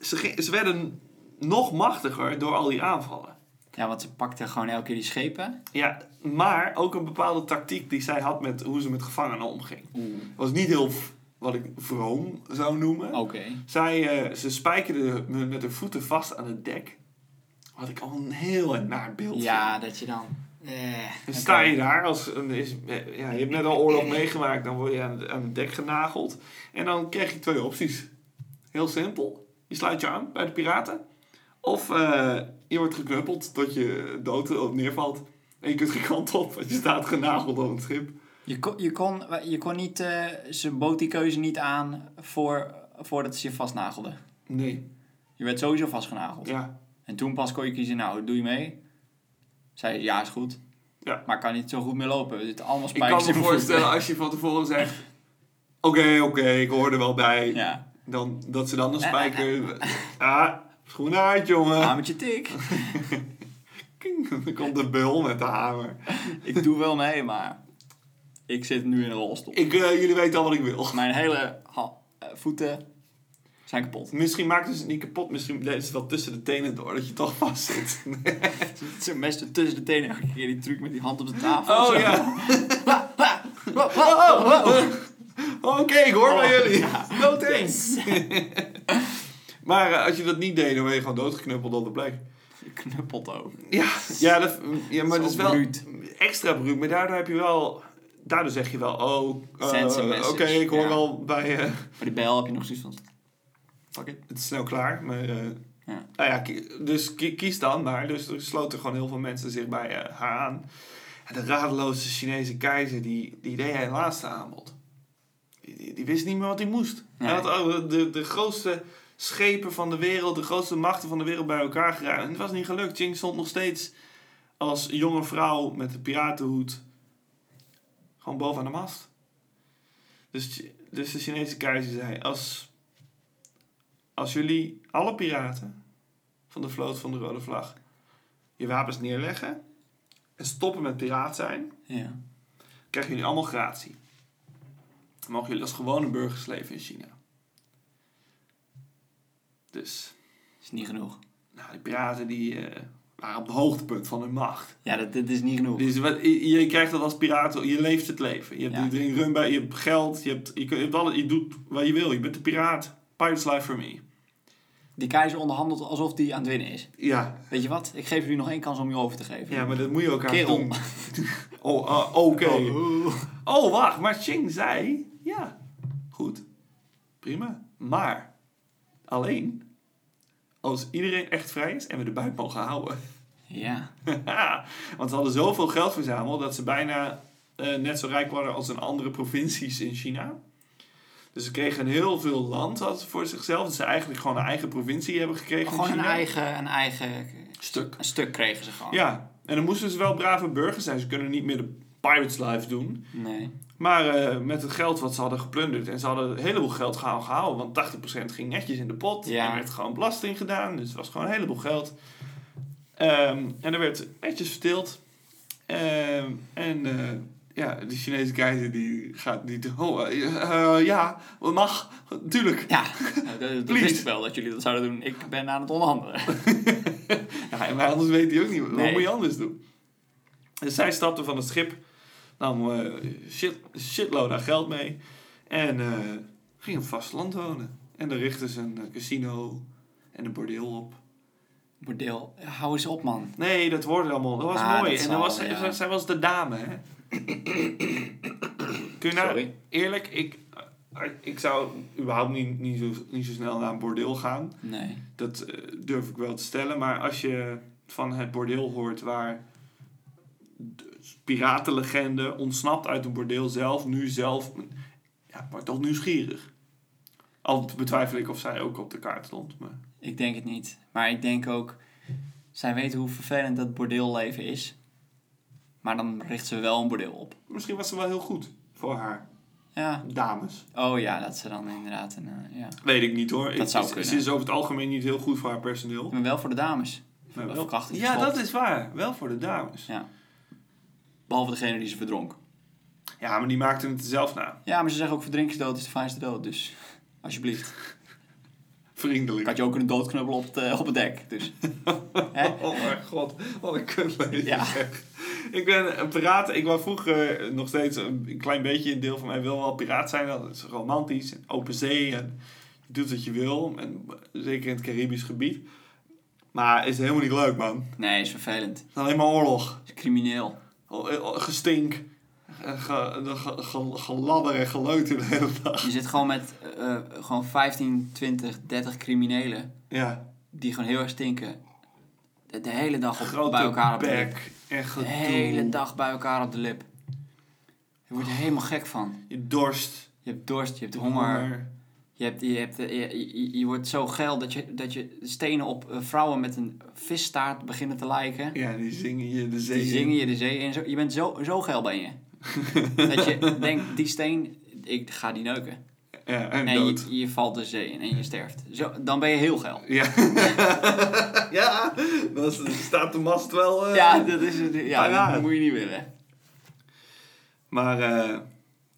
Speaker 1: ze, ging- ze werden nog machtiger door al die aanvallen.
Speaker 2: Ja, want ze pakten gewoon elke keer die schepen.
Speaker 1: Ja, maar ook een bepaalde tactiek die zij had met hoe ze met gevangenen omging.
Speaker 2: Oeh.
Speaker 1: Was niet heel v- wat ik vroom zou noemen.
Speaker 2: Oké.
Speaker 1: Zij, eh, ze spijkerde me met haar voeten vast aan het dek. Wat ik al een heel naar beeld vind.
Speaker 2: Ja, dat je dan... Eh,
Speaker 1: Dan
Speaker 2: oké.
Speaker 1: sta je daar als een, is, eh, ja, je hebt net al oorlog meegemaakt, dan word je aan, aan het dek genageld. En dan krijg je twee opties. Heel simpel. Je sluit je aan bij de piraten. Of eh, je wordt geknuppeld tot je dood of neervalt. En je kunt geen kant op, want je staat genageld op het schip.
Speaker 2: Je kon, je kon, je kon niet... eh, ze bood die keuze niet aan voor, voordat ze je vastnagelden.
Speaker 1: Nee.
Speaker 2: Je werd sowieso vastgenageld.
Speaker 1: Ja.
Speaker 2: En toen pas kon je kiezen, nou, doe je mee? Zei, ja, is goed.
Speaker 1: Ja.
Speaker 2: Maar kan niet zo goed meer lopen. Er zitten allemaal
Speaker 1: Ik
Speaker 2: spijkers
Speaker 1: kan
Speaker 2: in
Speaker 1: me
Speaker 2: mijn voeten.
Speaker 1: voorstellen als je van tevoren zegt... Oké, oké, ik hoor er wel bij.
Speaker 2: *laughs* Ja,
Speaker 1: Dan, dat ze dan
Speaker 2: Eh,
Speaker 1: een spijker... *laughs* Ah, schoen uit, jongen.
Speaker 2: hamertje Ah, tik.
Speaker 1: King, Dan komt de bul met de hamer.
Speaker 2: Ik doe wel mee, maar ik zit nu in een rolstoel.
Speaker 1: Ik, eh, jullie weten al wat ik wil.
Speaker 2: Mijn hele ha- eh, voeten zijn kapot. *laughs*
Speaker 1: Misschien maakten ze het niet kapot, misschien deden ze het wel tussen de tenen door, dat je toch vast
Speaker 2: *laughs*
Speaker 1: zit.
Speaker 2: Het zijn best tussen de tenen elke keer die truc met die hand op de tafel. Zo.
Speaker 1: Oh,
Speaker 2: *laughs*
Speaker 1: ja.
Speaker 2: Ha, ha, ho, ho,
Speaker 1: Oh,
Speaker 2: ho, ho.
Speaker 1: oh. Oké, ik hoor bij
Speaker 2: Oh,
Speaker 1: jullie.
Speaker 2: ja.
Speaker 1: Dood eens. *laughs* maar eh, als je dat niet deed, dan ben je gewoon doodgeknuppeld op de plek.
Speaker 2: Je knuppelt ook.
Speaker 1: Ja, ja, dat, ja maar
Speaker 2: Zo
Speaker 1: dat is wel
Speaker 2: bruut.
Speaker 1: extra bruut. Maar daardoor heb je wel... Daardoor zeg je wel, oh, eh,
Speaker 2: Sense
Speaker 1: oké,
Speaker 2: message,
Speaker 1: ik hoor
Speaker 2: ja.
Speaker 1: wel bij... eh,
Speaker 2: Maar die bel heb je nog zoiets van... Fuck it.
Speaker 1: Het is snel klaar, maar... eh,
Speaker 2: Ja.
Speaker 1: Nou ja, ki- dus ki- kies dan maar. Dus er sloten gewoon heel veel mensen zich bij eh, haar aan. En de radeloze Chinese keizer, die, die deed hij laatste aanbod. Die, die, die wist niet meer wat hij moest.
Speaker 2: Nee.
Speaker 1: Hij had al de, de grootste schepen van de wereld, de grootste machten van de wereld bij elkaar geraakt. En het was niet gelukt. Ching stond nog steeds als jonge vrouw met de piratenhoed gewoon bovenaan de mast. Dus, Chi- dus de Chinese keizer zei, als, als jullie alle piraten van de vloot van de rode vlag. Je wapens neerleggen en stoppen met piraat zijn,
Speaker 2: Ja.
Speaker 1: krijgen jullie allemaal gratie. Dan mogen jullie als gewone burgers leven in China. Dus,
Speaker 2: Is niet genoeg.
Speaker 1: nou, die piraten die eh, waren op het hoogtepunt van hun macht.
Speaker 2: Ja, dat, dat is niet genoeg.
Speaker 1: Dus wat, je, je krijgt dat als piraat, je leeft het leven. Je, hebt,
Speaker 2: Ja.
Speaker 1: je drinkt rum bij, je hebt geld, je, hebt, je, kun- je, hebt alles, je doet wat je wil. Je bent een piraat. Pirates life for me.
Speaker 2: Die keizer onderhandelt alsof die aan het winnen is.
Speaker 1: Ja,
Speaker 2: Weet je wat? Ik geef jullie nog één kans om je over te geven.
Speaker 1: ja maar dat moet je ook aan
Speaker 2: Kerel.
Speaker 1: doen. Oh, ah, oké.
Speaker 2: *laughs* Oh.
Speaker 1: Oh, wacht, maar Ching zei... Ja, goed. Prima. Maar, alleen... Als iedereen echt vrij is en we de buit mogen houden. *laughs*
Speaker 2: Ja.
Speaker 1: Want ze hadden zoveel geld verzameld... dat ze bijna eh, net zo rijk waren als in andere provincies in China. Dus ze kregen heel veel land hadden ze voor zichzelf. Dat ze eigenlijk gewoon een eigen provincie hebben gekregen
Speaker 2: Gewoon
Speaker 1: in
Speaker 2: een
Speaker 1: China.
Speaker 2: eigen, een eigen
Speaker 1: stuk.
Speaker 2: een stuk kregen ze gewoon.
Speaker 1: Ja, en dan moesten ze wel brave burgers zijn. Ze kunnen niet meer de pirates life doen...
Speaker 2: Nee.
Speaker 1: Maar eh, met het geld wat ze hadden geplunderd. En ze hadden een heleboel geld gehaald, gehaald want 80% ging netjes in de pot.
Speaker 2: Ja.
Speaker 1: Er werd gewoon belasting gedaan, dus het was gewoon een heleboel geld. Ehm, en er werd netjes verdeeld. Ehm, en eh, ja, de Chinese keizer die gaat niet... Oh, eh, eh, ja, dat mag, tuurlijk.
Speaker 2: Ja, dat, dat
Speaker 1: Please.
Speaker 2: wist ik wel dat jullie dat zouden doen. Ik ben aan het onderhandelen. *laughs*
Speaker 1: Ja, maar anders weet hij ook niet. Wat
Speaker 2: Nee.
Speaker 1: moet je anders doen? Dus zij stapte van het schip, nam eh, shit, shitload aan geld mee en eh, ging op vasteland wonen. En daar richtten ze een eh, casino en een bordeel op.
Speaker 2: Bordeel, hou eens op man.
Speaker 1: Nee, dat hoorde allemaal. Dat was
Speaker 2: Ah,
Speaker 1: mooi.
Speaker 2: dat
Speaker 1: en dat was,
Speaker 2: zal, ja.
Speaker 1: zij, zij was de dame, hè? Kun je nou,
Speaker 2: Sorry.
Speaker 1: eerlijk, ik, ik zou überhaupt niet, niet, zo, niet zo snel naar een bordeel gaan.
Speaker 2: Nee.
Speaker 1: Dat eh, durf ik wel te stellen. Maar als je van het bordeel hoort waar de piratenlegende ontsnapt uit een bordeel zelf, nu zelf. Ja, maar toch nieuwsgierig. Al betwijfel ik of zij ook op de kaart stond. Maar...
Speaker 2: Ik denk het niet. Maar ik denk ook, zij weten hoe vervelend dat bordeelleven is. Maar dan richt ze wel een bordeel op.
Speaker 1: Misschien was ze wel heel goed voor haar
Speaker 2: Ja.
Speaker 1: dames.
Speaker 2: Oh ja, dat ze dan inderdaad een... eh, ja.
Speaker 1: Weet ik niet hoor. Ik-
Speaker 2: zou
Speaker 1: ze,
Speaker 2: kunnen.
Speaker 1: ze is over het algemeen niet heel goed voor haar personeel.
Speaker 2: Maar wel voor de dames.
Speaker 1: Maar wel-
Speaker 2: verkrachting
Speaker 1: ja,
Speaker 2: gestopt.
Speaker 1: dat is waar. Wel voor de dames.
Speaker 2: Ja. Behalve degene die ze verdronk.
Speaker 1: Ja, maar die maakte het zelf na.
Speaker 2: Ja, maar ze zeggen ook verdrinkingsdood is de fijnste dood. Dus
Speaker 1: *laughs*
Speaker 2: alsjeblieft. Ik
Speaker 1: Vriendelijk.
Speaker 2: had je ook een doodknubbel op, het, eh, op het dek. Dus. Hè?
Speaker 1: Oh mijn god, wat een kutlezer
Speaker 2: Ja.
Speaker 1: zeg. Ik ben een piraat. Ik was vroeger eh, nog steeds een klein beetje een deel van mij wil wel piraat zijn. Dat is romantisch en open zee en je doet wat je wil. En zeker in het Caribisch gebied. Maar is helemaal niet leuk man. Het
Speaker 2: Nee, is vervelend.
Speaker 1: is alleen maar oorlog.
Speaker 2: Is crimineel.
Speaker 1: O- eh, Gestink. eh, ge- de ge- ge- Geladder en geleuter de hele dag.
Speaker 2: Je zit gewoon met eh, eh, gewoon 15, 20, 30 criminelen
Speaker 1: Ja,
Speaker 2: die gewoon heel erg stinken. De, de hele dag op,
Speaker 1: grote
Speaker 2: bij elkaar op de lip.
Speaker 1: bek en
Speaker 2: De
Speaker 1: gedoe.
Speaker 2: hele dag bij elkaar op de lip. Je wordt er helemaal gek van.
Speaker 1: Je dorst.
Speaker 2: Je hebt dorst, je hebt honger. Je, hebt, je, hebt, eh, je, je, je wordt zo geil dat je, dat je stenen op eh, vrouwen met een visstaart beginnen te lijken.
Speaker 1: Ja, die zingen je de zee.
Speaker 2: Die
Speaker 1: in.
Speaker 2: zingen je de zee in. Zo, je bent zo, zo geil ben
Speaker 1: *laughs*
Speaker 2: je. dat je denkt, die steen, ik ga die neuken.
Speaker 1: Ja, en,
Speaker 2: En
Speaker 1: dood.
Speaker 2: je, je valt de zee in en je sterft. Zo, dan ben je heel geil.
Speaker 1: Ja, *laughs* ja dat is- staat de mast wel. eh.
Speaker 2: Ja, dat is het. Ja,
Speaker 1: Ja.
Speaker 2: dat moet je niet willen.
Speaker 1: Maar eh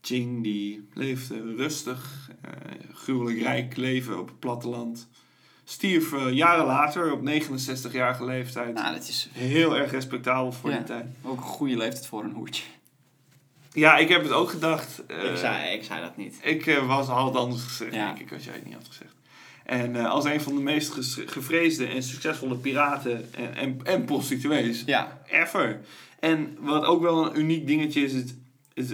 Speaker 1: Ching die leefde rustig, eh gruwelijk rijk leven op het platteland. Stierf eh, jaren later op 69-jarige leeftijd.
Speaker 2: Nou, dat is
Speaker 1: Heel erg respectabel voor
Speaker 2: Ja.
Speaker 1: die tijd.
Speaker 2: ook een goede leeftijd voor een hoertje.
Speaker 1: Ja, ik heb het ook gedacht. eh,
Speaker 2: ik zei dat niet.
Speaker 1: Ik eh, was, had het anders gezegd,
Speaker 2: Ja.
Speaker 1: denk ik, als jij het niet had gezegd. En eh, als een van de meest ges- gevreesde en succesvolle piraten en, en, en prostituees
Speaker 2: Ja,
Speaker 1: ever. En wat ook wel een uniek dingetje is, is, is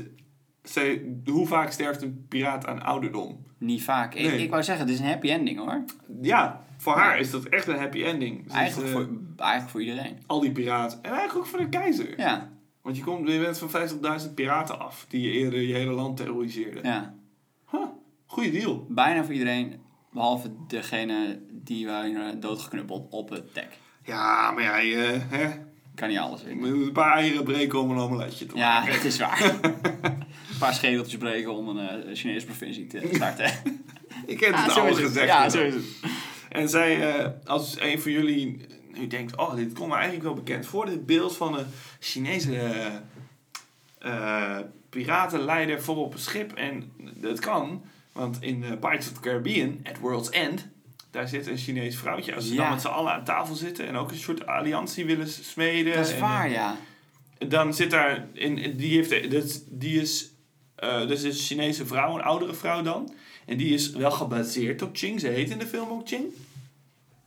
Speaker 1: ze, hoe vaak sterft een piraat aan ouderdom?
Speaker 2: niet vaak. Ik,
Speaker 1: Nee.
Speaker 2: ik wou zeggen, het is een happy ending hoor.
Speaker 1: Ja, voor haar is dat echt een happy ending. Ze is,
Speaker 2: Eigenlijk,
Speaker 1: eh,
Speaker 2: voor, eigenlijk voor iedereen.
Speaker 1: al die piraten. En eigenlijk ook voor de keizer.
Speaker 2: Ja,
Speaker 1: Want je, komt, je bent van 50.000 piraten af die je eerder je hele land terroriseerden.
Speaker 2: ja.
Speaker 1: Huh, goeie deal.
Speaker 2: Bijna voor iedereen, behalve degene die waren doodgeknuppeld op het dek.
Speaker 1: Ja, maar ja, je, hè,
Speaker 2: Kan niet alles
Speaker 1: je
Speaker 2: in.
Speaker 1: moet een paar eieren breken om een omeletje te
Speaker 2: Ja,
Speaker 1: maken.
Speaker 2: het is waar. *laughs* een paar schedeltjes breken om een eh, Chinese provincie te *laughs* starten.
Speaker 1: Ik heb
Speaker 2: Ah,
Speaker 1: het
Speaker 2: zo
Speaker 1: nou al
Speaker 2: is het.
Speaker 1: gezegd.
Speaker 2: Ja, zo is het.
Speaker 1: En zij, eh, als een van jullie nu denkt, oh, dit komt me eigenlijk wel bekend voor, dit beeld van een Chinese eh, eh, piratenleider voor op een schip. En dat kan, want in eh, Pirates of the Caribbean, at World's End, daar zit een Chinees vrouwtje. Als ze
Speaker 2: Ja.
Speaker 1: dan met z'n allen aan tafel zitten en ook een soort alliantie willen s- smeden.
Speaker 2: Dat is
Speaker 1: en,
Speaker 2: waar, ja.
Speaker 1: eh, dan zit daar, in, in- die, heeft, eh, dat- die is, eh, dat is een Chinese vrouw, een oudere vrouw dan. En die is wel gebaseerd op Ching. Ze heet in de film ook Ching.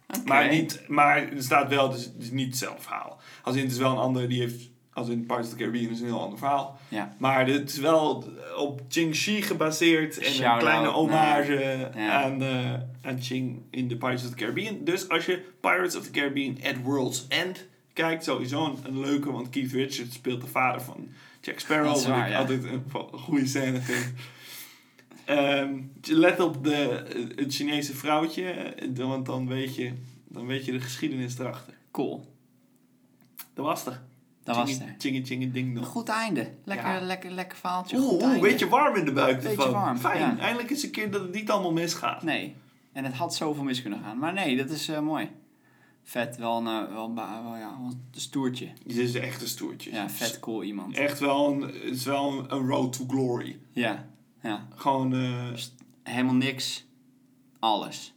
Speaker 2: Oké.
Speaker 1: Maar, niet, maar er staat wel, dus het is niet hetzelfde verhaal. Als in, het is wel een ander, die heeft, als in Pirates of the Caribbean, is een heel ander verhaal.
Speaker 2: Ja.
Speaker 1: Maar het is wel op Ching Shi gebaseerd en een
Speaker 2: Shout-out
Speaker 1: kleine
Speaker 2: naar-
Speaker 1: hommage
Speaker 2: ja.
Speaker 1: aan, eh, aan Ching in de Pirates of the Caribbean. Dus als je Pirates of the Caribbean at World's End kijkt, sowieso een, een leuke, want Keith Richards speelt de vader van Jack Sparrow.
Speaker 2: Dat is
Speaker 1: Wat
Speaker 2: waar,
Speaker 1: Oh, ik
Speaker 2: ja.
Speaker 1: altijd een vo- goede scène vind. Ehm, let op de, eh, het Chinese vrouwtje, eh, want dan weet je, dan weet je de geschiedenis erachter.
Speaker 2: Cool.
Speaker 1: Dat was er.
Speaker 2: Dat was het.
Speaker 1: Chingy chingy ding
Speaker 2: Een
Speaker 1: dong.
Speaker 2: goed einde. Lekker,
Speaker 1: Ja.
Speaker 2: lekker, lekker verhaaltje.
Speaker 1: Oeh,
Speaker 2: goed
Speaker 1: oeh, een
Speaker 2: einde.
Speaker 1: beetje warm in de buik
Speaker 2: Beetje
Speaker 1: ervan.
Speaker 2: warm,
Speaker 1: Fijn,
Speaker 2: ja.
Speaker 1: eindelijk eens een keer dat het niet allemaal misgaat.
Speaker 2: Nee. En het had zoveel mis kunnen gaan. Maar nee, dat is eh, mooi. Vet, wel een, eh, wel, een ba- wel, ja, wel een stoertje.
Speaker 1: Dit is echt een stoertje.
Speaker 2: Ja, vet cool iemand.
Speaker 1: Echt wel een, het is wel een, een road to glory.
Speaker 2: Ja, ja.
Speaker 1: Gewoon, eh,
Speaker 2: Helemaal niks. Alles.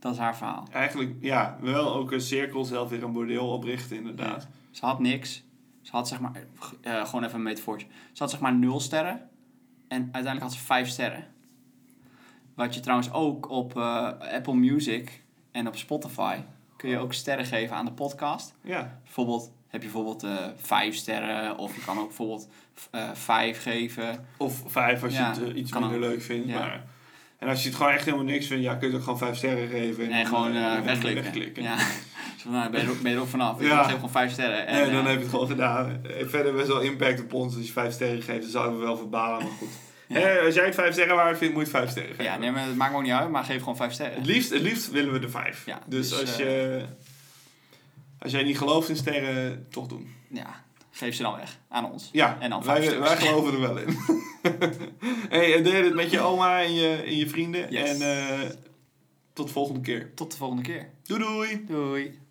Speaker 2: Dat is haar verhaal.
Speaker 1: eigenlijk, ja, wel ook een cirkel zelf weer een bordeel oprichten inderdaad.
Speaker 2: Ze had niks. Ze had zeg maar, eh, gewoon even een metafoortje. Ze had zeg maar nul sterren. En uiteindelijk had ze vijf sterren. Wat je trouwens ook op eh, Apple Music en op Spotify kun
Speaker 1: Oh.
Speaker 2: je ook sterren geven aan de podcast.
Speaker 1: Ja,
Speaker 2: Bijvoorbeeld heb je bijvoorbeeld eh, vijf sterren. Of je kan ook bijvoorbeeld eh, vijf geven.
Speaker 1: of vijf als
Speaker 2: Ja,
Speaker 1: je het eh, iets
Speaker 2: kan
Speaker 1: minder
Speaker 2: ook.
Speaker 1: leuk vindt.
Speaker 2: Ja.
Speaker 1: Maar, en als je het gewoon echt helemaal niks vindt, ja, kun je het ook gewoon vijf sterren geven. en
Speaker 2: Nee,
Speaker 1: dan,
Speaker 2: gewoon
Speaker 1: eh,
Speaker 2: eh wegklikken. Ja. *laughs* Zo van, nou, ben je er, ben je er ook vanaf. Ik
Speaker 1: Ja.
Speaker 2: geef gewoon vijf sterren. En,
Speaker 1: Nee, dan
Speaker 2: eh,
Speaker 1: heb je het gewoon gedaan. Eh, Verder best wel impact op ons. Als je vijf sterren geeft, dan zouden we wel verbalen. Maar goed.
Speaker 2: *laughs* Ja.
Speaker 1: Hè, als jij het vijf sterren waard vindt, moet je het vijf sterren geven.
Speaker 2: ja, nee, maar het maakt me ook niet uit. Maar geef gewoon vijf sterren.
Speaker 1: Het liefst, het liefst willen we de vijf.
Speaker 2: Ja,
Speaker 1: dus
Speaker 2: dus,
Speaker 1: als,
Speaker 2: eh,
Speaker 1: je, als jij niet gelooft in sterren, toch doen.
Speaker 2: Ja, geef ze dan weg aan ons.
Speaker 1: Ja,
Speaker 2: En dan vijf
Speaker 1: wij,
Speaker 2: stuks.
Speaker 1: wij geloven er wel in. *laughs* hey, en deed het met je oma en je, en je vrienden.
Speaker 2: Yes.
Speaker 1: En eh, tot de volgende keer.
Speaker 2: Tot de volgende keer.
Speaker 1: Doei doei!
Speaker 2: Doei.